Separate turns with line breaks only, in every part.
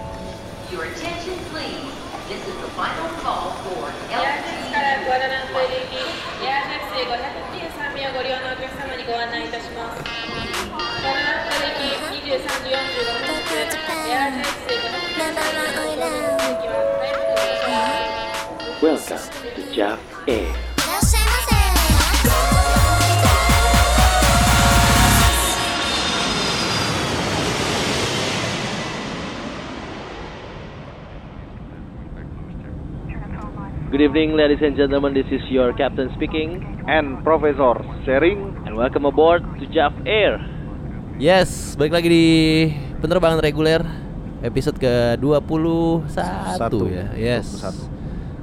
uh, ご利用のお客様にご案内いたします。ご覧の駅23時45分発、エアースイカの駅は大変です
Welcome to Jap
いらっ
Air.
しゃいませ
Good evening, ladies and gentlemen. This is your captain speaking,
and Professor Sharing
and welcome aboard to Jap Air.
Yes, balik lagi di penerbangan reguler episode ke-21
Satu.
ya. Yes.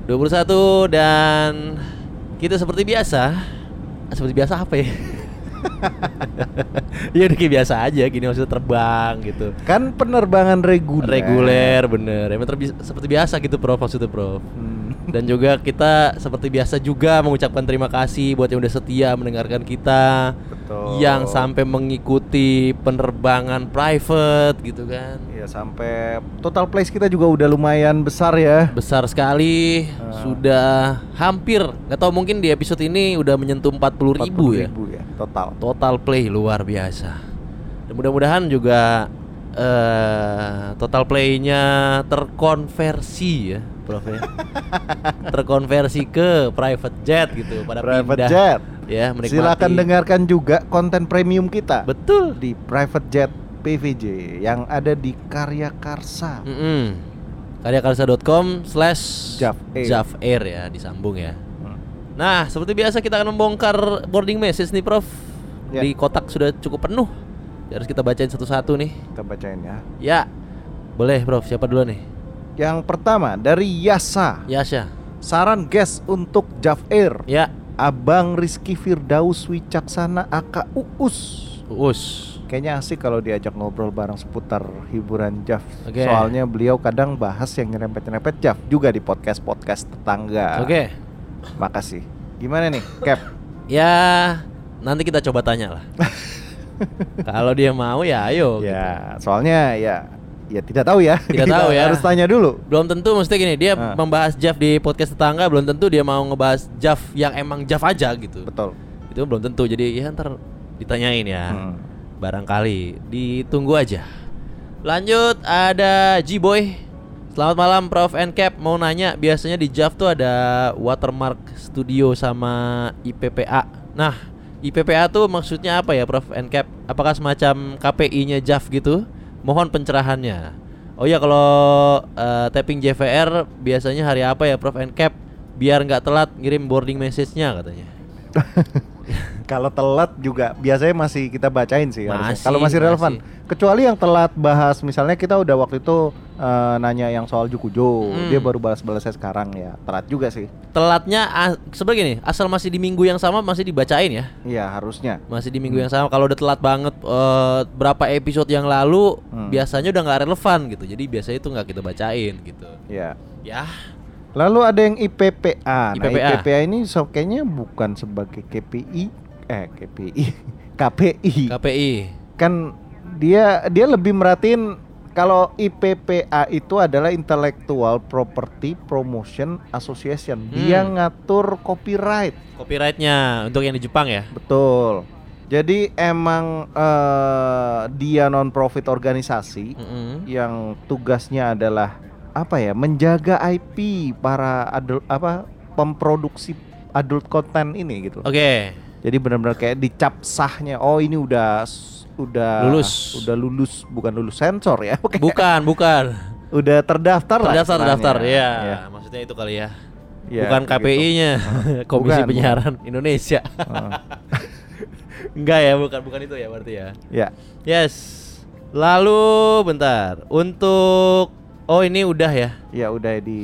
21 dan kita seperti biasa seperti biasa apa ya? ya udah kayak biasa aja gini maksudnya terbang gitu.
kan penerbangan reguler.
Reguler bener. Emang terbi- seperti biasa gitu Prof maksudnya Prof.
Hmm.
Dan juga kita seperti biasa juga mengucapkan terima kasih buat yang udah setia mendengarkan kita
Betul.
Yang sampai mengikuti penerbangan private gitu kan
Ya sampai total place kita juga udah lumayan besar ya.
Besar sekali, sudah hampir Gak tau mungkin di episode ini udah menyentuh 40 ribu ya
40.000 ya total.
Total play luar biasa Dan mudah-mudahan juga eh total playnya terkonversi ya Prof ya Terkonversi ke private jet gitu pada
Private
pindah
jet.
ya menikmati
Silakan dengarkan juga konten premium kita
betul
di private jet PVJ yang ada di Karya Karsa.
Mm-mm. karyakarsa.com slash
Jav Air.
Jav Air ya disambung ya
Hmm,
nah seperti biasa kita akan membongkar boarding message nih Prof
Ya.
di kotak sudah cukup penuh Ya, harus kita bacain satu-satu nih
Kita bacain ya.
ya boleh Prof siapa dulu nih
Yang pertama dari Yasa.
Yasha
Saran guest untuk Jav Air.
ya
Abang Rizky Firdaus Wicaksana Aka Uus.
Uus
Kayaknya asik kalau diajak ngobrol bareng seputar hiburan Jaf.
Oke.
Soalnya beliau kadang bahas yang nyerempet-nyerempet Jaf juga di podcast-podcast tetangga.
oke
Makasih. Gimana nih, Cap?
ya nanti kita coba tanya lah kalau dia mau ya ayo gitu.
ya, soalnya ya ya tidak tahu ya.
Tidak
Kita
tahu ya.
Harus tanya dulu.
Belum tentu maksudnya gini, dia
Ah.
membahas Jav di podcast tetangga belum tentu dia mau ngebahas Jav yang emang Jav aja gitu.
Betul.
Itu belum tentu. Jadi ya ntar ditanyain ya.
Hmm.
Barangkali ditunggu aja. Lanjut ada G-Boy. Selamat malam Prof and Cap. Mau nanya, biasanya di Jav tuh ada watermark studio sama IPPA. Nah, IPPA tuh maksudnya apa ya Prof and Cap? Apakah semacam KPI-nya Jav gitu? Mohon pencerahannya. Oh ya kalau eh, tapping JVR biasanya hari apa ya Prof and Cap? Biar nggak telat ngirim boarding message-nya katanya.
Kalau telat juga biasanya masih kita bacain sih. harusnya.
Masih,
Kalau masih relevan.
masih.
Kecuali yang telat bahas, misalnya kita udah waktu itu eh, nanya yang soal Jukujo,
Hmm.
dia baru balas-balasnya sekarang ya. Telat juga sih.
telatnya a- sebenarnya gini asal masih di minggu yang sama masih dibacain ya
Iya, harusnya.
masih di
Hmm.
minggu yang sama kalau udah telat banget eh, berapa episode yang lalu
Hmm.
biasanya udah nggak relevan gitu jadi biasanya itu nggak kita bacain gitu
Ya.
ya
Lalu ada yang IPPA. Nah,
IPPA.
IPPA ini so, kayaknya bukan sebagai KPI eh KPI KPI.
KPI
Kan dia dia lebih merhatiin kalau IPPA itu adalah Intellectual Property Promotion Association. Dia
Hmm.
ngatur copyright.
copyrightnya untuk yang di Jepang ya
Betul. Jadi emang eh, dia non profit organisasi
Mm-mm.
yang tugasnya adalah apa ya menjaga IP para adult apa pemproduksi adult content ini gitu.
oke
Jadi benar-benar kayak dicap sahnya. Oh ini udah s- udah
Lulus.
udah lulus bukan lulus sensor ya. Oke.
bukan bukan
Udah terdaftar, lah
terdaftar
istilahnya.
terdaftar ya
Ya.
maksudnya itu kali ya
Ya,
bukan
kayak gitu.
KPI-nya Komisi
Bukan, Ah.
Penyiaran Indonesia
Heeh.
enggak ya bukan bukan itu ya berarti ya
ya.
Yes. Lalu bentar. Untuk oh ini udah ya.
Ya udah di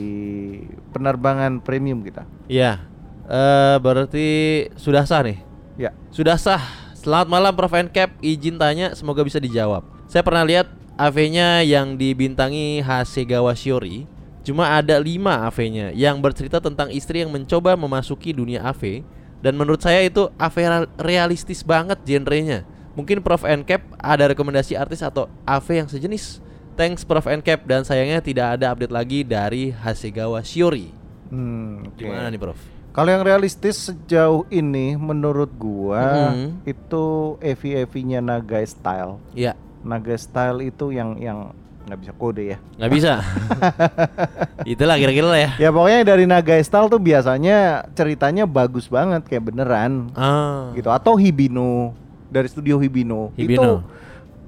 penerbangan premium kita.
Iya. Eh berarti sudah sah nih.
Ya.
Sudah sah. Selamat malam Prof Cap, izin tanya semoga bisa dijawab. Saya pernah lihat AV-nya yang dibintangi Hasegawa Shiori. Cuma ada 5 AV-nya yang bercerita tentang istri yang mencoba memasuki dunia AV dan menurut saya itu AV ra- realistis banget genrenya. Mungkin Prof Cap ada rekomendasi artis atau AV yang sejenis. Thanks Prof Cap dan sayangnya tidak ada update lagi dari Hasegawa Shiori.
Hmm, oke.
Gimana nih Prof?
Kalau yang realistis sejauh ini menurut gua
Mhm.
itu E EV-EV-nya Naga Style.
Iya,
Naga Style itu yang yang nggak bisa kode ya.
nggak bisa. Itulah kira-kira lah ya.
Ya pokoknya dari Naga Style tuh biasanya ceritanya bagus banget kayak beneran
Ah.
gitu atau Hibino dari studio Hibino,
Hibino.
itu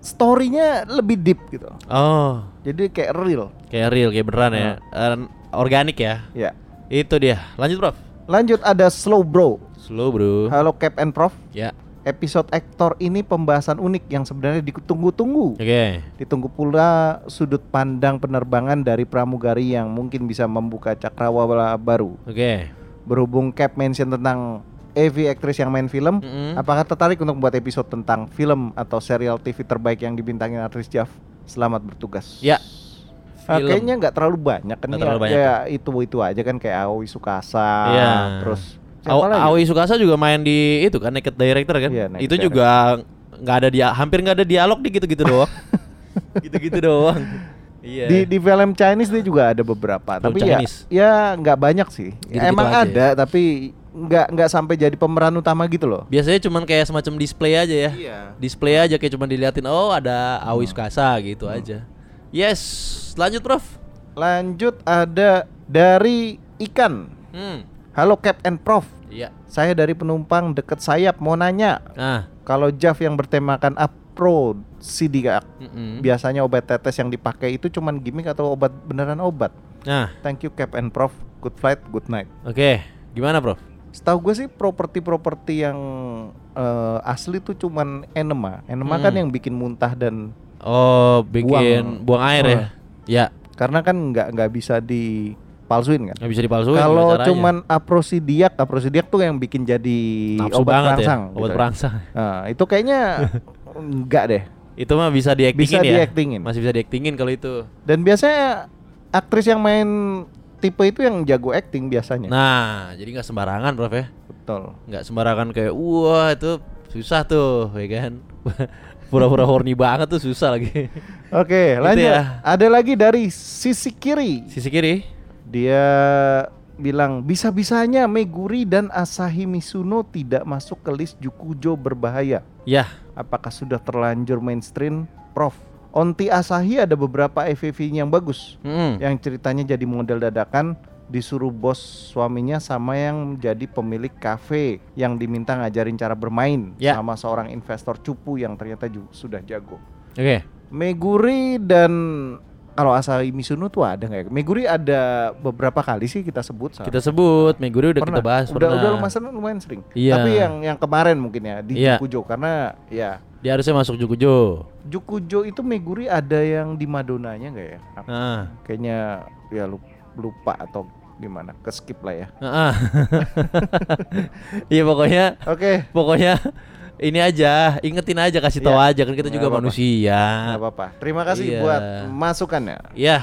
story-nya lebih deep gitu.
Oh,
Jadi kayak real.
kayak real, kayak beneran ya.
Ah.
Eh, organik ya.
Ya.
Itu dia. Lanjut, Prof.
Lanjut ada Slow Bro.
Slow, Bro.
Halo Cap and Prof.
Ya.
Episode aktor ini pembahasan unik yang sebenarnya ditunggu-tunggu.
Oke.
Ditunggu pula sudut pandang penerbangan dari pramugari yang mungkin bisa membuka cakrawala baru.
Oke.
Berhubung Cap mention tentang AV aktris yang main film,
Mm-mm.
apakah tertarik untuk membuat episode tentang film atau serial TV terbaik yang dibintangi aktris Jav? Selamat bertugas.
Ya.
Ah,
Film.
kayaknya nggak terlalu banyak kan
Nggak
ya,
terlalu banyak.
ya itu itu aja kan kayak Aoi Sukasa,
Iya.
terus siapa
Aw-
lagi?
Aoi Sukasa juga main di itu kan Naked Director kan.
Iya, Naked
itu juga nggak ada dia hampir nggak ada dialog di gitu-gitu doang. gitu-gitu doang. Iya.
Di di film Chinese dia juga ada beberapa,
Film
tapi
Chinese.
ya ya nggak banyak sih.
Gitu-gitu
Emang
aja
ada tapi nggak nggak sampai jadi pemeran utama gitu loh.
Biasanya cuman kayak semacam display aja ya.
Iya.
Display aja kayak cuman diliatin oh ada
Hmm.
Aoi Sukasa gitu aja. Yes, lanjut Prof.
Lanjut ada dari Ikan.
Hmm.
Halo Cap and Prof.
Iya.
Saya dari penumpang deket sayap mau nanya
Nah,
kalau Jav yang bertemakan Apro Sidiak
mm-mm.
biasanya obat tetes yang dipakai itu cuman gimmick atau obat beneran obat?
Nah,
Thank you Cap and Prof. Good flight, good night.
oke. Gimana, Prof?
Setahu gue sih properti-properti yang eh, asli tuh cuman enema. Enema kan
Hmm.
yang bikin muntah dan
Oh, bikin buang, air ya.
Buang.
Ya,
karena kan nggak nggak bisa dipalsuin kan.
nggak bisa dipalsuin.
Kalau
gimana caranya?
cuman aprosidiak, aprosidiak tuh yang bikin jadi
Nafsu
obat
banget
perangsang.
ya, obat
gitu.
perangsang.
Nah, itu kayaknya enggak deh.
Itu mah bisa diaktingin
Bisa
ya.
diaktingin.
Masih bisa diaktingin kalau itu.
Dan biasanya aktris yang main tipe itu yang jago acting biasanya.
Nah, jadi nggak sembarangan, Prof ya.
Betul.
Nggak sembarangan kayak wah itu susah tuh, ya kan. Pura-pura horny banget tuh susah lagi.
Oke, lanjut.
ya.
Ada lagi dari sisi kiri.
Sisi kiri.
Dia bilang bisa-bisanya Meguri dan Asahi Mizuno tidak masuk ke list Jukujo berbahaya.
Ya,
Apakah sudah terlanjur mainstream, Prof? Onti Asahi ada beberapa FVV yang bagus,
Mm-mm.
yang ceritanya jadi model dadakan disuruh bos suaminya sama yang jadi pemilik kafe yang diminta ngajarin cara bermain
Ya.
sama seorang investor cupu yang ternyata ju- sudah jago.
Oke.
Meguri dan kalau Asahi Mizuno tuh ada nggak ya? Meguri ada beberapa kali sih kita sebut. sama.
Kita sebut Meguri udah kita bahas
udah
pernah.
udah lumayan lumayan sering.
Iya.
Tapi yang yang kemarin mungkin ya di
Iya.
Jukujo karena ya
Dia harusnya masuk Jukujo.
Jukujo itu Meguri ada yang di Madonanya nggak ya? Aku
Nah.
Kayaknya ya lu- lupa atau gimana? Keskip lah ya.
Heeh. Iya pokoknya
Oke,
pokoknya ini aja, ingetin aja kasih tahu
Iya.
aja kan kita
Nggak
juga
apa-apa.
manusia.
nggak apa-apa. Terima kasih
Iya.
buat masukannya.
Iya.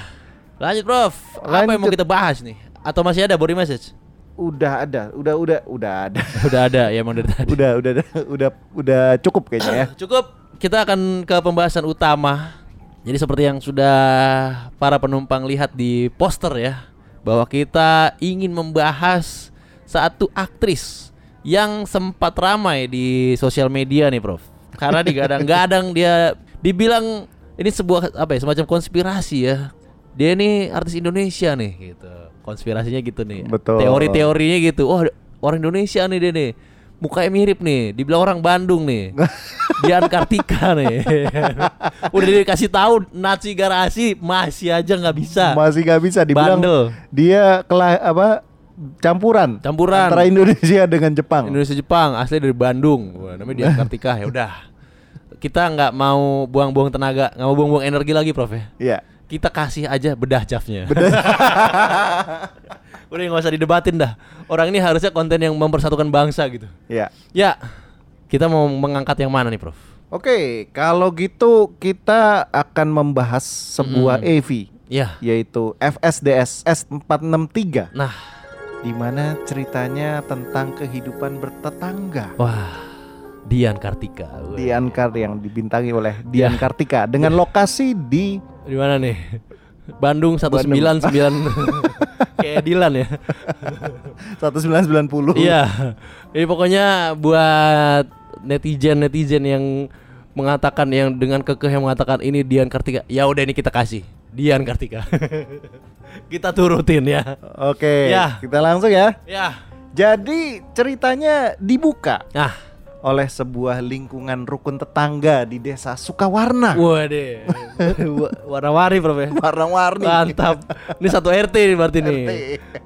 Lanjut Prof. Apa yang mau
Lanjut.
kita bahas nih? Atau masih ada body message?
Udah ada, udah udah udah ada.
Udah ada ya emang dari tadi.
udah udah udah udah cukup kayaknya ya.
Cukup. Kita akan ke pembahasan utama. Jadi seperti yang sudah para penumpang lihat di poster ya, bahwa kita ingin membahas satu aktris yang sempat ramai di sosial media nih, Prof. Karena digadang-gadang dia dibilang ini sebuah apa ya, semacam konspirasi ya. Dia ini artis Indonesia nih gitu. Konspirasinya gitu nih.
Betul.
Teori-teorinya gitu. Wah, orang Indonesia nih dia nih. Mukanya mirip nih, dibilang orang Bandung nih. Dian Kartika nih. Udah dikasih tahu Nazi garasi masih aja nggak bisa.
Masih nggak bisa dibilang
Bandel.
dia kela apa campuran.
Campuran.
antara Indonesia dengan Jepang.
Indonesia Jepang asli dari Bandung. Wah, namanya Dian Kartika ya udah. Kita nggak mau buang-buang tenaga, nggak mau buang-buang energi lagi, Prof ya.
Iya.
Kita kasih aja bedah jafnya. udah nggak usah didebatin dah. Orang ini harusnya konten yang mempersatukan bangsa gitu.
Iya.
Ya, kita mau mengangkat yang mana nih, Prof?
Oke, kalau gitu kita akan membahas sebuah AV
Ya.
yaitu FSDS S463
Nah,
di mana ceritanya tentang kehidupan bertetangga.
wah. Dian Kartika. Wah.
Iya. Dian Kar yang dibintangi oleh Dian Kartika dengan lokasi di
Di mana nih? Bandung 199 Kayak Dilan ya
1990.
Iya Jadi pokoknya buat netizen-netizen yang Mengatakan yang dengan kekeh yang mengatakan ini Dian Kartika Ya udah ini kita kasih Dian Kartika Kita turutin ya
Oke,
Ya.
kita langsung ya.
Ya
Jadi ceritanya dibuka
Nah
oleh sebuah lingkungan rukun tetangga di desa Sukawarna.
Waduh Wa- Warna-warni prof ya
Warna-warni.
Mantap Ini satu RT nih berarti nih
RT.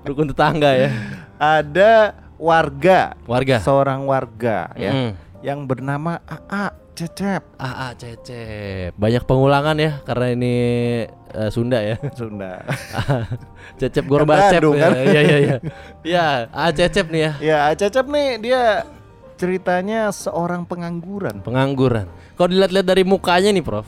Rukun tetangga ya
Ada warga,
Warga.
seorang warga ya,
Mm.
yang bernama AA Cecep
Ah, ah cecep. Banyak pengulangan ya karena ini eh, Sunda ya.
Sunda.
cecep
Kan
gorbacep
Bandung,
ya.
kan?
Iya iya iya. Ya, ah cecep nih ya.
ya, AA Cecep nih dia ceritanya seorang pengangguran.
Pengangguran. Kalau dilihat-lihat dari mukanya nih, Prof.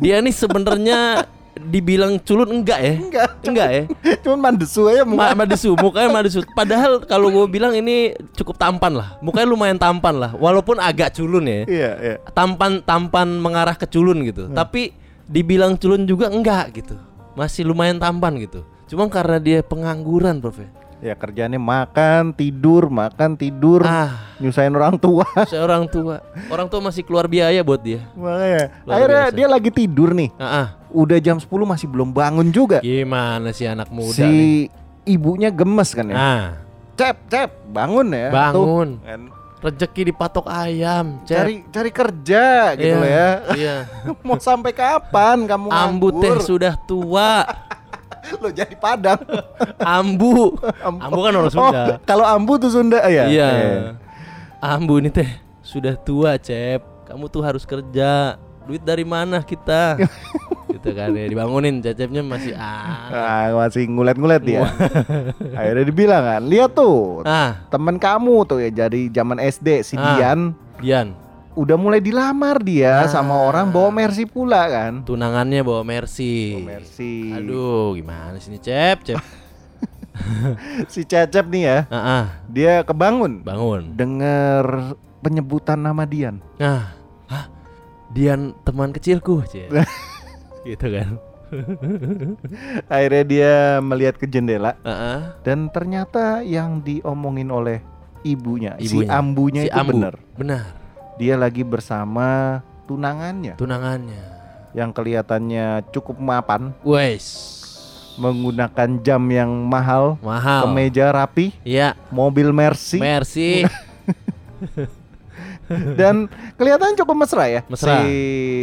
dia nih sebenarnya dibilang culun enggak ya?
Enggak.
Enggak ya?
Cuman mandesu aja
Ma
muka.
madesu, mukanya madesu. Padahal kalau gue bilang ini cukup tampan lah. Mukanya lumayan tampan lah, walaupun agak culun ya.
Iya, iya.
tampan tampan mengarah ke culun gitu
Hmm.
tapi dibilang culun juga enggak gitu masih lumayan tampan gitu cuma karena dia pengangguran prof ya
Ya kerjanya makan, tidur, makan, tidur,
Ah.
nyusahin orang tua.
seorang tua orang tua masih keluar biaya buat dia
Makanya
Luar
akhirnya
biasa.
dia lagi tidur nih.
ah ah.
Udah jam 10 masih belum bangun juga.
gimana sih anak muda
si
nih
ibunya gemes kan ya.
nah
Cep, cep, bangun ya. Tuh,
Bangun.
kan.
rezeki dipatok ayam Cep.
Cari cari kerja gitu
Iya,
loh ya.
iya
Mau sampai kapan kamu
ambu teh sudah tua
Lo jadi padang.
ambu ambu kan orang
Oh,
Sunda
kalau ambu tuh Sunda ya.
Iya.
Eh.
Ambu ini teh sudah tua, Cep. Kamu tuh harus kerja. Duit dari mana kita? gitu kan ya dibangunin Cecepnya masih ah.
Ah, masih ngulet-ngulet dia. Akhirnya dibilang kan, lihat tuh.
Ah,
Temen kamu tuh ya dari zaman SD si
Ah.
Dian
Dian,
udah mulai dilamar dia sama orang bawa Mercy pula kan.
tunangannya bawa Mercy.
Bawa Mercy.
iya. Aduh, gimana sih ini Cep, Cep?
Si Cecep nih ya,
Ah, ah,
dia kebangun
bangun.
denger penyebutan nama Dian.
Nah, hah? Dian teman kecilku, Cep. gitu kan.
Akhirnya dia melihat ke jendela
Ah, ah.
dan ternyata yang diomongin oleh ibunya, si
Ibunya.
ambunya
Si
itu
Ambu.
bener.
Benar,
Dia lagi bersama tunangannya
tunangannya.
yang kelihatannya cukup mapan,
Wes.
menggunakan jam yang mahal,
Mahal.
kemeja rapi,
Iya,
mobil Mercy
Mercy.
dan kelihatan cukup mesra ya.
Mesra.
Si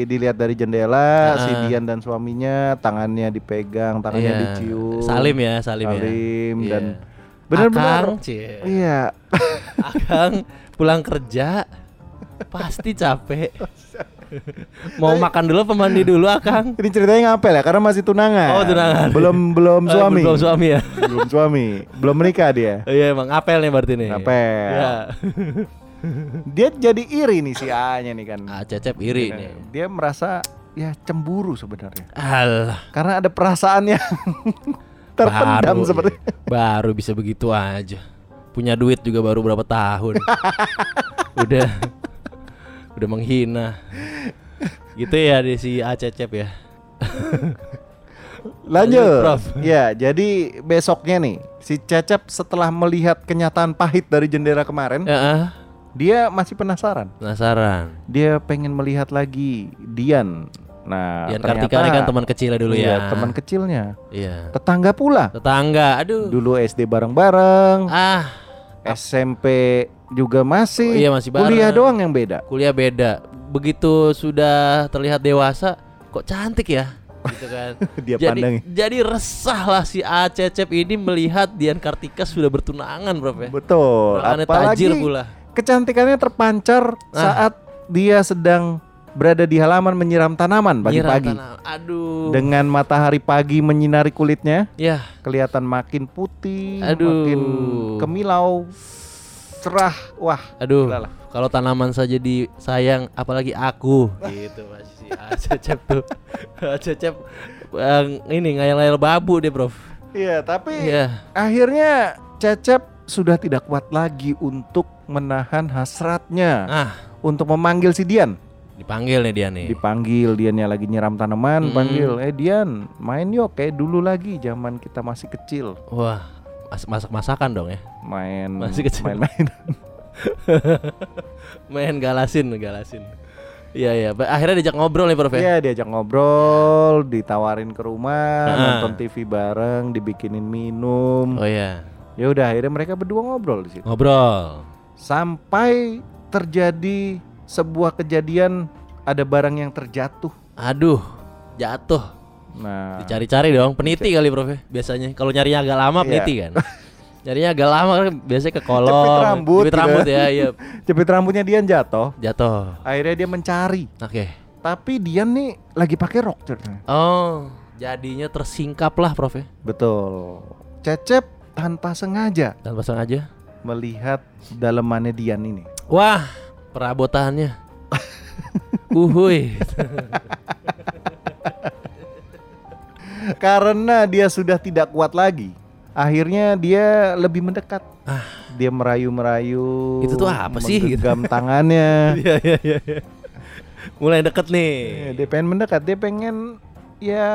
dilihat dari jendela, si
Ah.
Dian dan suaminya tangannya dipegang, tangannya
Iya.
dicium.
Salim ya, salim,
Salim
ya.
dan
Iya.
benar-benar
Akang, cie.
iya.
Akang pulang kerja pasti capek. Mau makan dulu apa mandi dulu, Akang?
Ini ceritanya ngapel ya karena masih tunangan.
Oh, tunangan.
Belum belum
Eh,
suami.
belum suami ya.
belum suami. Belum menikah dia.
Oh, Iya, emang apel nih berarti nih.
Ngapel.
Iya.
Dia jadi iri nih si A-nya nih kan.
Ah, cecep iri nih.
Dia merasa ya cemburu sebenarnya.
Alah.
Karena ada perasaan yang terpendam
baru,
seperti
iya. baru bisa begitu aja. Punya duit juga baru berapa tahun. udah udah menghina. Gitu ya di si A cecep ya. Lanjut,
Lanjut.
Iya, Prof.
Ya, jadi besoknya nih, si Cecep setelah melihat kenyataan pahit dari jendela kemarin,
Heeh.
dia masih penasaran.
Penasaran.
Dia pengen melihat lagi Dian. Nah,
Dian
ternyata-
Kartika ini kan teman kecilnya dulu
Iya,
ya.
teman kecilnya.
Iya.
Tetangga pula.
Tetangga, aduh.
Dulu SD bareng-bareng,
Ah,
SMP juga masih.
Oh iya, masih bareng.
Kuliah doang yang beda.
kuliah beda. Begitu sudah terlihat dewasa, kok cantik ya? Gitu kan.
Dia
jadi,
pandang ya.
Jadi resah lah si A Cecep ini melihat Dian Kartika sudah bertunangan, Prof ya.
Betul.
Tunangannya
Apalagi
tajir pula. Nah.
kecantikannya terpancar saat dia sedang berada di halaman menyiram tanaman
Nyiram
pagi-pagi.
tanah. Aduh.
Dengan matahari pagi menyinari kulitnya,
ya,
kelihatan makin putih,
Aduh.
makin kemilau, cerah. Wah,
aduh.
Udah lah.
Kalau tanaman saja disayang, apalagi aku. Gitu masih si A Cecep tuh. A Cecep eh, ini ngayal-ngayal babu deh, Prof.
iya. Tapi
Iya.
akhirnya Cecep sudah tidak kuat lagi untuk menahan hasratnya,
Ah,
untuk memanggil si Dian.
Dipanggil nih dia nih.
dipanggil Diannya lagi nyiram tanaman
Hmm.
panggil eh Dian main yuk kayak dulu lagi zaman kita masih kecil
Wah, mas- masak-masakan dong ya.
main
Masih kecil.
main-main
Main galasin, galasin. Iya iya, Ba- akhirnya diajak ngobrol nih Prof ya.
Iya diajak ngobrol ditawarin ke rumah
Ah.
nonton TV bareng dibikinin minum
Oh iya,
ya udah akhirnya mereka berdua ngobrol di situ
ngobrol.
sampai terjadi sebuah kejadian ada barang yang terjatuh
Aduh, jatuh.
nah
Dicari-cari dong, peniti kali Prof ya. Biasanya kalau nyarinya agak lama
Iya.
peniti kan. Nyarinya agak lama kan biasanya ke kolong.
Jepit rambut
Jepit
gitu.
Oh, rambut ya, iya.
jepit rambutnya Dian jatuh
Jatuh.
akhirnya dia mencari
Oke.
tapi Dian nih lagi pakai rok cer.
Oh, jadinya tersingkap lah Prof ya.
betul Cecep tanpa sengaja
Dan pasang aja.
melihat dalemannya Dian ini
Wah, perabotannya. Uhuy.
karena dia sudah tidak kuat lagi akhirnya dia lebih mendekat dia merayu-merayu
Ah. Itu tuh apa sih?
menggenggam tangannya
Iya iya iya. iya. Mulai deket nih.
dia pengen mendekat dia pengen ya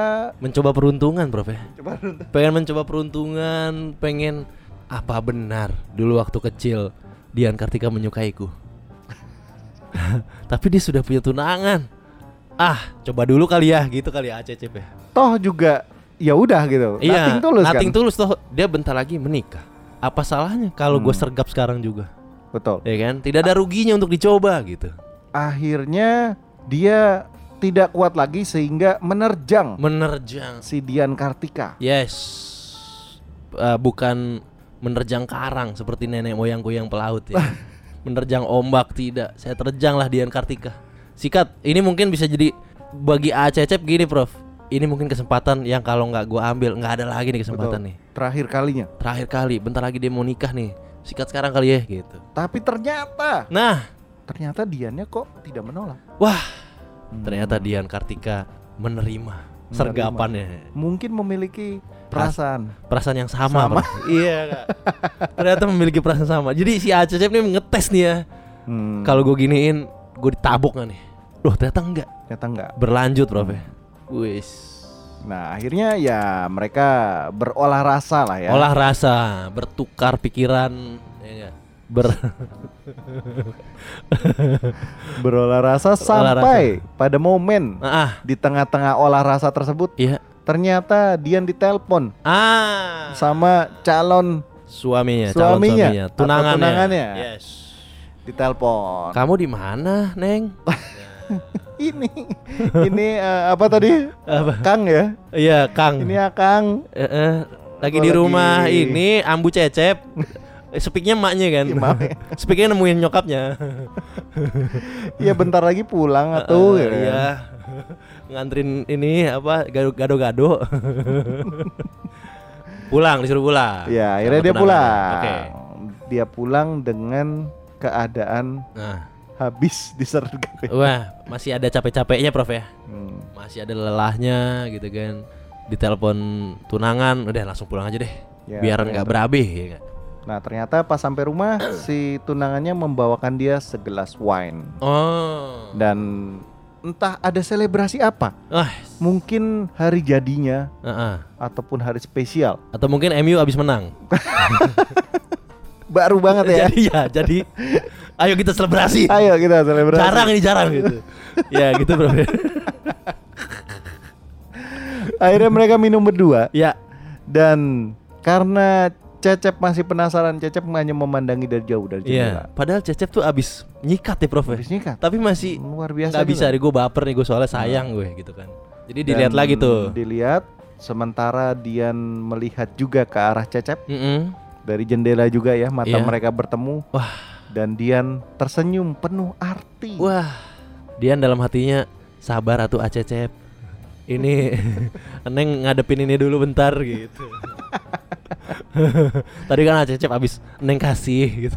Mencoba peruntungan, Prof ya.
coba
Pengen mencoba peruntungan, pengen apa benar dulu waktu kecil Dian Kartika menyukaiku. Tapi dia sudah punya tunangan. Ah, coba dulu kali ya, gitu kali ya ACCP.
toh juga ya udah gitu
Iya,
nothing tulus
nothing
kan
tulus toh. Dia bentar lagi menikah. Apa salahnya kalau
Hmm.
gue sergap sekarang juga?
betul
Ya kan? Tidak ada ruginya untuk dicoba gitu.
akhirnya dia tidak kuat lagi sehingga menerjang
Menerjang.
si Dian Kartika
Yes. Eh, bukan menerjang karang seperti nenek moyangku yang pelaut ya. menerjang ombak tidak. Saya terjanglah Dian Kartika. Sikat. Ini mungkin bisa jadi bagi Acecep gini, Prof. Ini mungkin kesempatan yang kalau nggak gua ambil nggak ada lagi nih kesempatan nih.
terakhir kalinya
Terakhir kali, bentar lagi dia mau nikah nih. Sikat sekarang kali ya gitu.
tapi ternyata
Nah,
ternyata Diannya kok tidak menolak
wah. Ternyata Dian Kartika menerima sergapannya.
mungkin memiliki perasaan
perasaan yang sama, Bro. iya Kak. ternyata memiliki perasaan sama jadi si Acep nih ngetes nih ya
Hmm,
kalau gue giniin gue ditabok nggak nih Loh ternyata enggak
ternyata enggak
berlanjut Prof ya wis
nah akhirnya ya mereka berolah rasa lah ya
olah rasa bertukar pikiran ya nggak? ber
berolah rasa sampai pada momen
ah
di tengah-tengah olah rasa tersebut
iya
ternyata Dian ditelepon
ah
sama calon
suaminya calon
Suaminya
suaminya
atau
tunangannya,
tunangannya.
yes
ditelepon
kamu di mana neng
ini ini eh, apa tadi
Apa?
Kang ya
iya Kang
ini ya Kang
Eh, eh, lagi
Gua
di
lagi-
rumah ini ambu cecep. Eh, Speaknya maknya kan.
Iya, maknya.
Speaknya nemuin nyokapnya.
ya bentar lagi pulang atau
Eh,
ya
Iya. Ngantrin ini apa gado- gado-gado. pulang disuruh pulang.
ya
Sama
akhirnya dia
tunangannya.
pulang
Oke.
dia pulang dengan keadaan
Nah,
habis disergap
wah masih ada capek-capeknya Prof ya.
Hmm.
Masih ada lelahnya gitu kan. Ditelepon tunangan, udah langsung pulang aja deh.
Ya,
Biar nggak berabih ya kan?
nah ternyata pas sampai rumah si tunangannya membawakan dia segelas wine
Oh.
dan entah ada selebrasi apa
Wah.
mungkin hari jadinya
heeh.
ataupun hari spesial
Atau mungkin MU abis menang.
baru banget ya
jadi ya jadi ayo kita selebrasi
ayo kita selebrasi Iya.
jarang ini jarang gitu ya gitu bro
akhirnya mereka minum berdua
ya
dan karena Cecep masih penasaran Cecep hanya memandangi dari jauh dari
Iya.
jendela kan?
padahal Cecep tuh abis nyikat ya prof ya.
Abis nyikat.
tapi masih
luar biasa gitu.
nggak bisa
juga. Nah.
deh gue baper nih gue soalnya sayang gue gitu kan jadi dilihat
Dan
lagi tuh
dilihat sementara Dian melihat juga ke arah Cecep
Mm-mm.
dari jendela juga ya mata
Iya.
mereka bertemu
wah
dan Dian tersenyum penuh arti
wah Dian dalam hatinya sabar atuh ah Cecep ini Neng ngadepin ini dulu bentar gitu Tadi kan ah Cecep abis Neng kasih gitu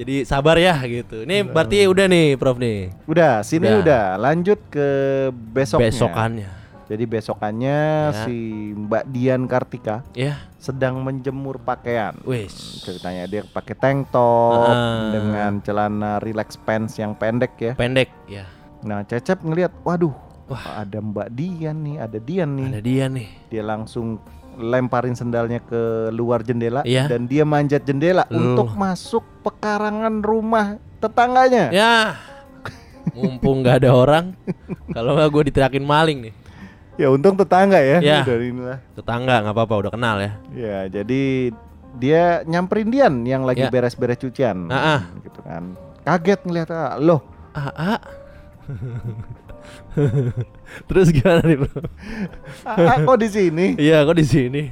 Jadi sabar ya gitu Ini berarti udah nih Prof nih
udah sini
Udah.
udah lanjut ke besoknya
besokannya
jadi besokannya
Ya.
si Mbak Dian Kartika
ya
sedang menjemur pakaian
wes
ceritanya dia pakai tank top
Ah.
dengan celana relax pants yang pendek ya
pendek ya
Nah, Cecep ngelihat, waduh, ada Mbak Dian nih, ada Dian nih.
Ada dia nih.
Dia langsung lemparin sendalnya ke luar jendela
Iya.
dan dia manjat jendela
Loh.
untuk masuk pekarangan rumah tetangganya.
Ya. Mumpung nggak ada orang, kalau nggak gue diteriakin maling nih.
Ya untung tetangga ya.
Iya.
Dari inilah.
Tetangga nggak apa-apa, udah kenal ya.
Ya, jadi dia nyamperin Dian yang lagi
Ya.
beres-beres cucian.
Ah, ah.
Gitu kan. Kaget ngelihat, ah, loh,
Aa. Terus gimana nih, Bro?
ah, ah, kok di sini?
Iya, kok di sini.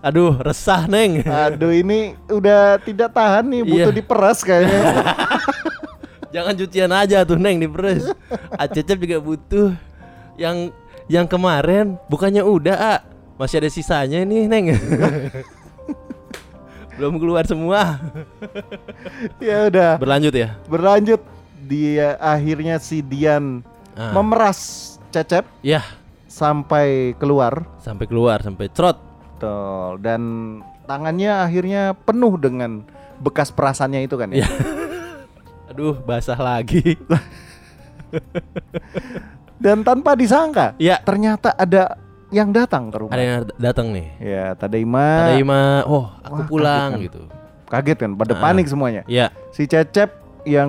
Aduh, resah, Neng.
Aduh ini udah tidak tahan nih butuh
Iya.
diperas kayaknya.
Jangan cucian aja tuh Neng di press. Acecep juga butuh. Yang yang kemarin bukannya udah, A. Masih ada sisanya nih, Neng. Belum keluar semua.
ya udah
Berlanjut ya.
berlanjut dia akhirnya si Dian
Ah.
memeras Cecep
Yah,
sampai keluar
Iya, sampai keluar, sampai trot.
Betul. dan tangannya akhirnya penuh dengan bekas perasannya itu kan ya.
Iya. Aduh, basah lagi.
Dan tanpa disangka
Iya.
ternyata ada yang datang ke rumah.
Ada yang datang nih.
Ya, Tadaima,
Tadaima, oh, aku
Wah,
pulang
kaget
gitu.
kaget kan pada
Ah.
panik semuanya.
Ya,
Si Cecep yang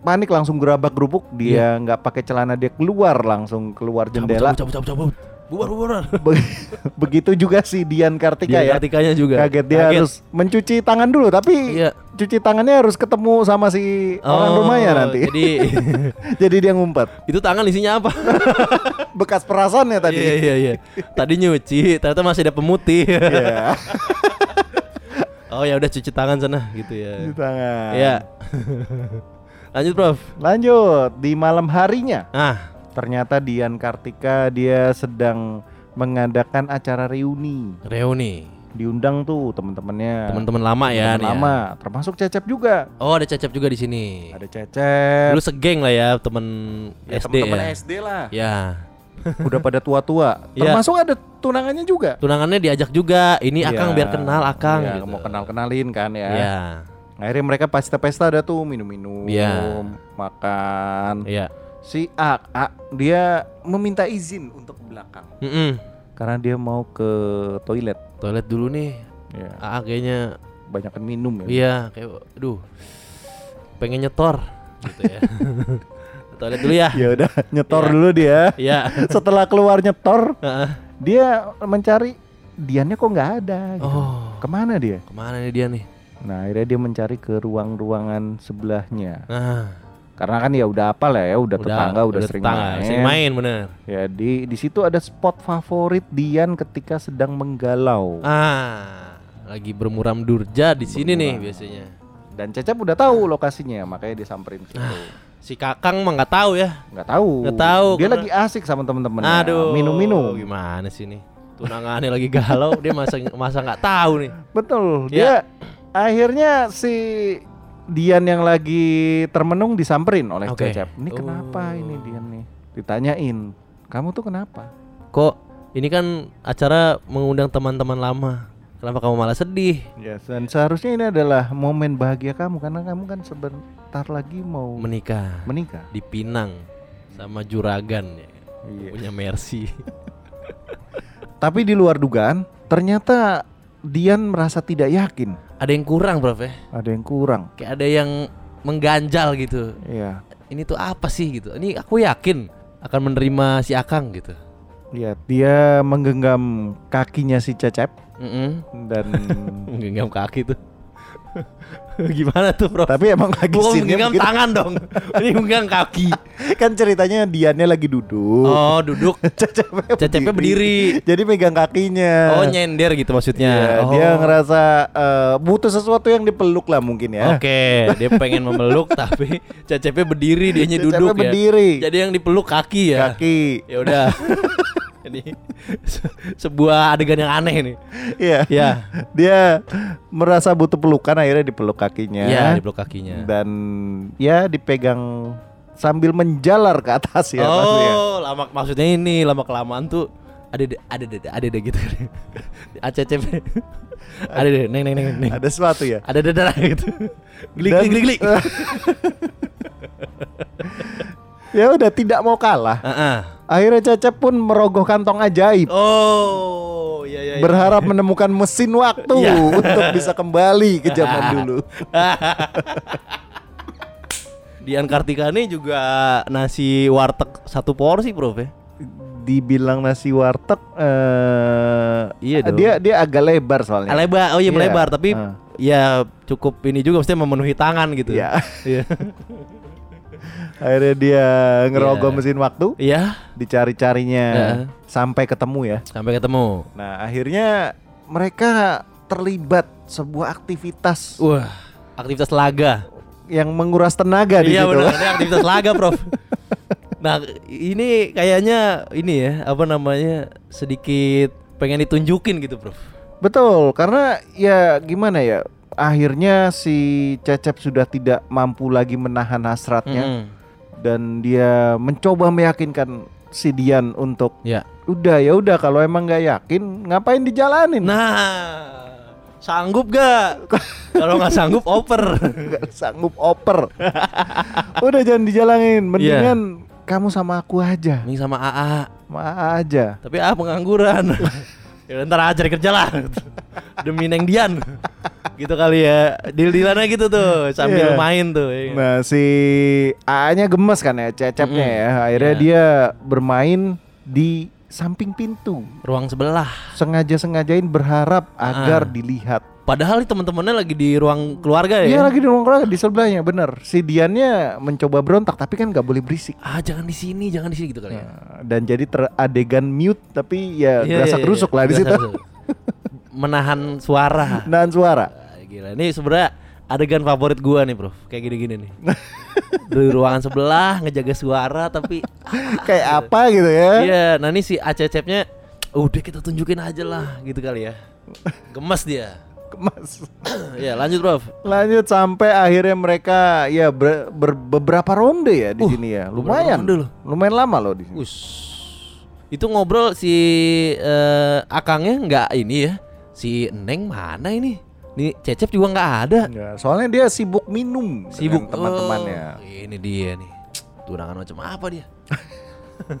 panik langsung gerabak gerubuk dia nggak pakai celana dia keluar langsung keluar jendela
Iya. Cabut, cabut, cabut, cabut. Bubar, bubar.
Be- begitu juga si Dian Kartika
Dia
ya
Kartikanya juga.
kaget dia harus mencuci tangan dulu tapi
Iya.
cuci tangannya harus ketemu sama si orang
Oh,
rumahnya nanti
Jadi
jadi dia ngumpet
itu tangan isinya apa?
bekas perasannya tadi
Iya, iya, iya. Tadi nyuci, ternyata masih ada pemutih.
Iya,
oh ya udah cuci tangan sana gitu
cuci
ya.
tangan
Iya. Lanjut, Prof.
lanjut di malam harinya
Ah,
ternyata Dian Kartika dia sedang mengadakan acara reuni
reuni.
diundang tuh teman-temannya
Teman-teman lama
Nah. Teman
ya nih ya.
lama termasuk Cecep juga
Oh, ada Cecep juga di sini.
ada Cecep
Dulu segeng lah ya, temen
ya,
SD
teman-teman
ya.
SD lah
Ya.
udah pada tua-tua
Iya.
termasuk ada tunangannya juga
Tunangannya diajak juga. Ini Akang
Iya.
biar kenal Akang
Iya,
gitu.
mau kenal-kenalin kan ya
Iya.
akhirnya mereka pesta-pesta ada tuh minum-minum
Iya.
makan
Iya.
si A, A, dia meminta izin untuk ke belakang
Mm-mm.
karena dia mau ke toilet
Toilet dulu nih.
ya
AA kayaknya
banyakan minum ya
Iya, kayak aduh. Pengen nyetor gitu ya. Ke Toilet dulu ya.
ya udah nyetor
Iya.
dulu dia
Iya.
setelah keluar nyetor
Heeh.
dia mencari Diannya kok nggak ada gitu.
Oh,
kemana dia
kemana nih dia nih?
Nah akhirnya dia mencari ke ruang-ruangan sebelahnya
Nah,
Karena kan ya udah apa lah ya udah, tetangga udah, sering
tetangga,
main.
sering main bener.
Ya di di situ ada spot favorit Dian ketika sedang menggalau.
Ah, lagi bermuram durja di sini nih biasanya.
Dan Cecep udah tahu lokasinya makanya dia samperin ke situ.
Si Kakang mah nggak tahu ya.
Nggak tahu.
Ah. Nggak tahu,
Dia
karena-
lagi asik sama temen-temen.
Aduh,
Minum-minum.
Gimana sih nih? Tunangannya lagi galau, dia masa masa nggak tahu nih.
Betul.
Ya.
Dia akhirnya si Dian yang lagi termenung disamperin oleh
Oke.
Cecep. Ini kenapa
Oh.
ini Dian nih? Ditanyain. Kamu tuh kenapa?
Kok ini kan acara mengundang teman-teman lama. Kenapa kamu malah sedih?
Ya, dan seharusnya ini adalah momen bahagia kamu karena kamu kan sebentar lagi mau
Menikah.
menikah.
di Pinang sama juragan ya.
Iya.
Punya Mercy.
Tapi di luar dugaan, ternyata Dian merasa tidak yakin.
ada yang kurang, Prof ya.
Ada yang kurang.
Kayak ada yang mengganjal gitu.
Iya.
Ini tuh apa sih gitu? Ini aku yakin akan menerima si Akang gitu.
Iya, dia menggenggam kakinya si Cecep
Mm-mm.
dan
Menggenggam kaki tuh. Gimana tuh, Prof?
tapi emang lagi
Bukan
scene-nya
menggenggam
begitu.
tangan dong. Ini menggenggam kaki.
Kan ceritanya Diannya lagi duduk.
Oh, duduk.
Cecepnya,
Cecepnya berdiri.
Jadi megang kakinya.
Oh, nyender gitu maksudnya.
Iya,
Oh.
dia ngerasa eh, butuh sesuatu yang dipeluk lah mungkin ya.
Oke, dia pengen memeluk tapi Cecepnya berdiri, dianya
Cecepnya
duduk ya.
berdiri.
Jadi yang dipeluk kaki ya.
Kaki.
ya udah ini se- sebuah adegan yang aneh nih
Iya.
ya
Dia merasa butuh pelukan akhirnya dipeluk kakinya.
ya di blok kakinya
dan ya dipegang sambil menjalar ke atas ya
oh
pasti ya.
lama maksudnya ini lama kelamaan tuh ada de- ada ada ada ada gitu ACCP ada deh neng neng neng neng
Ada sesuatu ya.
ada dada gitu glik
Dan-
glik glik glik
ya udah tidak mau kalah.
Heeh.
Akhirnya Cecep pun merogoh kantong ajaib.
Oh, iya iya. iya.
Berharap menemukan mesin waktu
Iya.
untuk bisa kembali ke
Ah.
zaman dulu.
Dian Kartikani juga nasi warteg satu porsi, Prof ya.
Dibilang nasi warteg, eh
Iya dong.
dia dia agak lebar soalnya.
Lebar, oh iya
Iya.
melebar, tapi
Ah.
ya cukup ini juga mesti memenuhi tangan gitu.
Iya.
Iya.
Akhirnya dia ngerogoh
Iya.
mesin waktu,
Iya,
dicari-carinya
Iya.
sampai ketemu ya.
sampai ketemu.
Nah, akhirnya mereka terlibat sebuah aktivitas
Wah, aktivitas laga.
yang menguras tenaga di
Iya
situ.
benar, ini aktivitas laga, Prof. Nah, ini kayaknya ini ya, apa namanya? sedikit pengen ditunjukin gitu, Prof.
Betul, karena ya gimana ya? Akhirnya si Cecep sudah tidak mampu lagi menahan hasratnya
Mm-mm.
dan dia mencoba meyakinkan si Dian untuk
Ya.
udah ya udah kalau emang nggak yakin ngapain dijalanin?
Nah, sanggup gak? Kalau nggak sanggup oper.
Nggak sanggup oper. udah jangan
Iya.
dijalanin, mendingan kamu sama aku aja,
Ming sama AA,
sama Aa aja.
tapi AA pengangguran. ya udah, ntar aja cari kerja lah. Demi Neng Dian. gitu kali ya. Deal-dealan aja gitu tuh sambil
Iya.
main tuh. ya.
Nah si AA-nya gemes kan ya, cecepnya
Mm-mm.
ya. Akhirnya
Iya.
dia bermain di samping pintu.
Ruang sebelah.
Sengaja-sengajain berharap
Ah.
agar dilihat.
Padahal teman-temannya lagi di ruang keluarga ya.
Iya lagi di ruang keluarga, di sebelahnya bener. Si Diannya mencoba berontak tapi kan nggak boleh berisik.
Ah, jangan di sini, jangan di sini gitu kali ya.
Nah, Dan jadi teradegan mute tapi ya
Iya,
berasa
iya,
kerusuk
iya.
lah di
Berasa
situ.
kerusuk. Menahan suara.
Nahan suara.
Ah, Gila, ini sebenernya adegan favorit gua nih, Bro. Kayak gini-gini nih. Di ruangan sebelah ngejaga suara tapi
Kayak apa gitu ya.
Iya, nah ini si acecep-nya udah kita tunjukin aja lah gitu kali ya. Gemes dia.
Kemas.
ya, lanjut, Prof.
Lanjut sampai akhirnya mereka ya ber- ber- beberapa ronde ya di
Uh,
sini ya.
beberapa
Lumayan.
ronde loh.
Lumayan lama loh di sini.
Us. Itu ngobrol si eh, Akangnya nggak ini ya. Si Neng mana ini? Nih Cecep juga nggak ada.
Ya, soalnya dia sibuk minum dengan
Sibuk
ya. teman-temannya.
Oh, ini dia nih. Tunangan macam apa dia?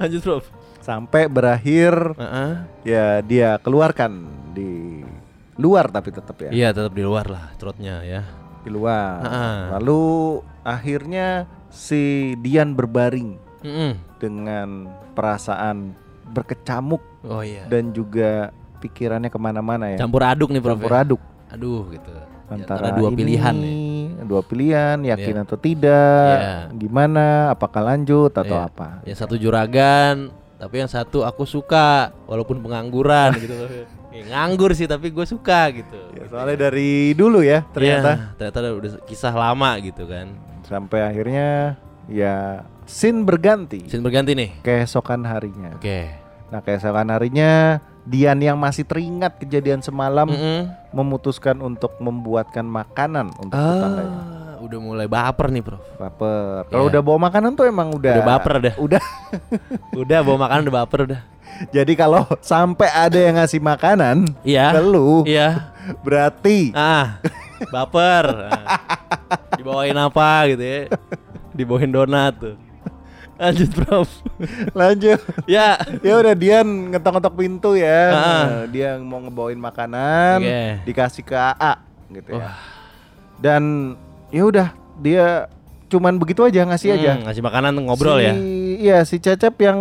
lanjut, Prof.
Sampai berakhir
Heeh.
ya dia keluarkan di luar tapi tetap ya
Iya, tetap di luar lah trotnya ya.
di luar.
Heeh.
Lalu akhirnya si Dian berbaring
Mm-mm.
dengan perasaan berkecamuk
Oh iya.
dan juga pikirannya kemana-mana ya.
Campur aduk nih, Prof.
Campur
ya.
aduk
Aduh gitu. Di
antara
dua
ini,
pilihan ya.
dua pilihan yakin atau tidak,
Iya.
gimana, apakah lanjut atau
Iya.
apa.
Yang satu juragan, tapi yang satu aku suka walaupun pengangguran gitu loh. Eh, nganggur sih tapi gue suka gitu.
Ya, soalnya dari dulu ya ternyata.
Iya, ternyata udah- udah kisah lama gitu kan.
sampai akhirnya ya sin berganti
Sin berganti nih.
keesokan harinya.
Oke.
Nah, keesokan harinya Dian yang masih teringat kejadian semalam
Mm-mm.
memutuskan untuk membuatkang makanan untuk tetangganya.
Ah, udah mulai baper nih, Prof.
Baper. Kalau
Iya.
udah bawa makanan tuh emang udah
Udah baper dah.
Udah.
Udah bawa makanan udah baper udah.
Jadi kalau sampai ada yang ngasih makanan
Iya.
ke lu,
Iya.
berarti
Ah, baper. Ah. Dibawain apa gitu ya? Dibawain donat tuh. Lanjut, Prof.
lanjut.
ya.
Ya udah Dian ngetok-ngetok pintu ya.
Ah.
Nah, Dia mau ngebawain makanan,
Oke.
dikasih ke AA gitu ya.
Wah.
dan ya udah dia cuman begitu aja ngasih aja
Hmm, ngasih makanan ngobrol
Iya, si,
ya.
iya si cecep yang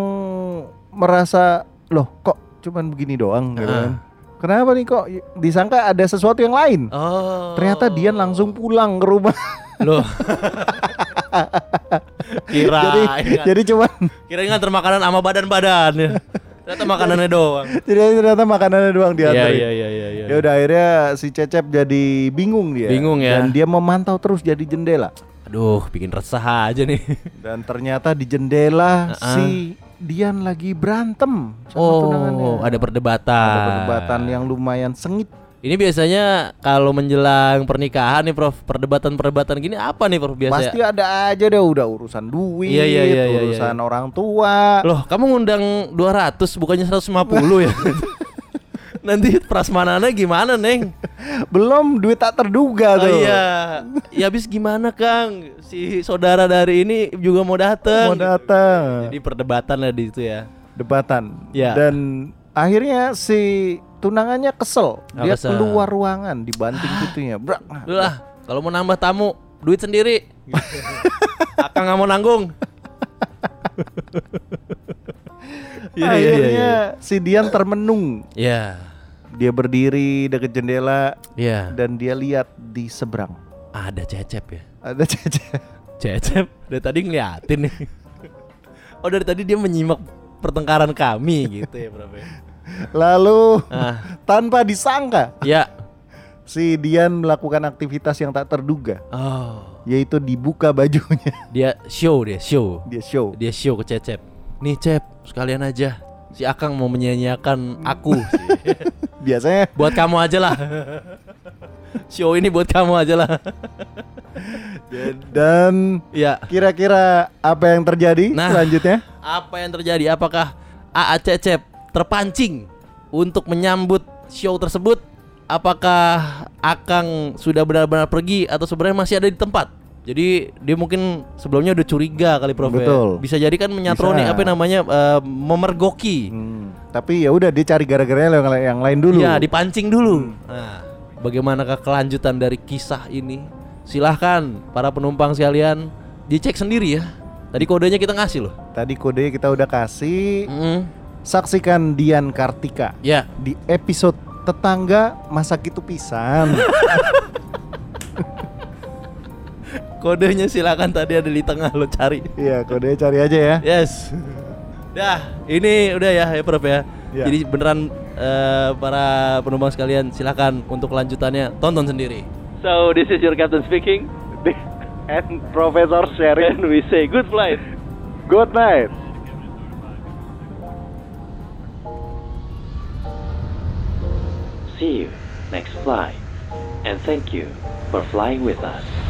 merasa loh kok cuman begini doang gitu
Heeh.
kan kenapa nih kok Y- disangka ada sesuatu yang lain
Oh.
ternyata Dian langsung pulang ke rumah
loh. kira
jadi
jadi
jadi cuman
kira nganter makanan sama badan-badan ya. Ternyata makanannya doang.
jadi ternyata makanannya doang
Iya
dianterin
iya iya iya. iya.
ya udah akhirnya si cecep jadi bingung dia
Bingung ya.
dan dia memantau terus jadi jendela
Aduh, bikin resah aja nih.
dan ternyata di jendela
Heeh.
si Dian lagi berantem sama tunangannya.
Oh, ada perdebatan.
ada perdebatan yang lumayan sengit.
Ini biasanya kalau menjelang pernikahan nih, Prof, perdebatan-perdebatan gini apa nih, Prof, biasanya?
Pasti ada aja deh udah urusan duit,
ya. Iya, iya, iya, iya,
urusan
iya.
orang tua.
Loh, kamu ngundang 200 bukannya 150 ya? Nanti prasmanannya gimana, Neng?
Belum duit tak terduga
Oh
tuh.
iya. Ya habis gimana, Kang? Si saudara dari ini juga mau
Mau
datang.
datang.
Jadi perdebatan lah di situ ya.
Debatan.
Ya.
Dan akhirnya si tunangannya kesel.
Oh,
Dia
kesel. Iya,
keluar ruangan dibanting pintunya. Brak.
Udah lah, kalau mau nambah tamu, duit sendiri. Akang nggak mau nanggung. Iya, iya,
akhirnya
iya,
si Dian termenung.
Iya.
Dia berdiri dekat jendela
Iya.
dan dia lihat di seberang
Ada cecep ya.
ada cece.
Cecep dari tadi ngeliatin nih. Oh dari tadi dia menyimak pertengkaran kami gitu ya, Prof. ya.
Lalu
Ah,
tanpa disangka
ya.
si Dian melakukan aktivitas yang tak terduga,
Oh,
yaitu dibuka bajunya.
dia show dia show.
Dia show.
Dia show ke Cecep. Nih Cep, sekalian aja. Si Akang mau menyanyiakan aku.
Biasanya
buat kamu aja lah. Show ini buat kamu aja lah.
dan
ya.
kira-kira apa yang terjadi
Nah.
selanjutnya?
Apa yang terjadi? Apakah AA Cecep terpancing untuk menyambut show tersebut? Apakah Akang sudah benar-benar pergi atau sebenarnya masih ada di tempat? Jadi dia mungkin sebelumnya udah curiga kali Prof. ya?
Betul.
Bisa jadi kan menyatroni
Bisa.
apa namanya eh, memergoki.
Hmm, tapi ya udah dia cari gara-garanya yang, yang lain dulu.
Iya, dipancing dulu. Nah, bagaimanakah kelanjutan dari kisah ini? Silahkan para penumpang sekalian dicek sendiri ya. Tadi kodenya kita ngasih loh.
Tadi kodenya kita udah kasih.
Mm-mm.
Saksikan Dian Kartika
Ya,
di episode tetangga masa gitu pisan.
kodenya silakan tadi ada di tengah lo cari.
Iya, kodenya cari aja ya.
Yes. Dah, ini udah ya, ya Prof ya.
Ya.
Jadi beneran eh, para penumpang sekalian silakan untuk kelanjutannya tonton sendiri.
So this is your captain speaking.
And Profesor Sherry
And we say good flight.
Good night.
See you next flight. And thank you for flying with us.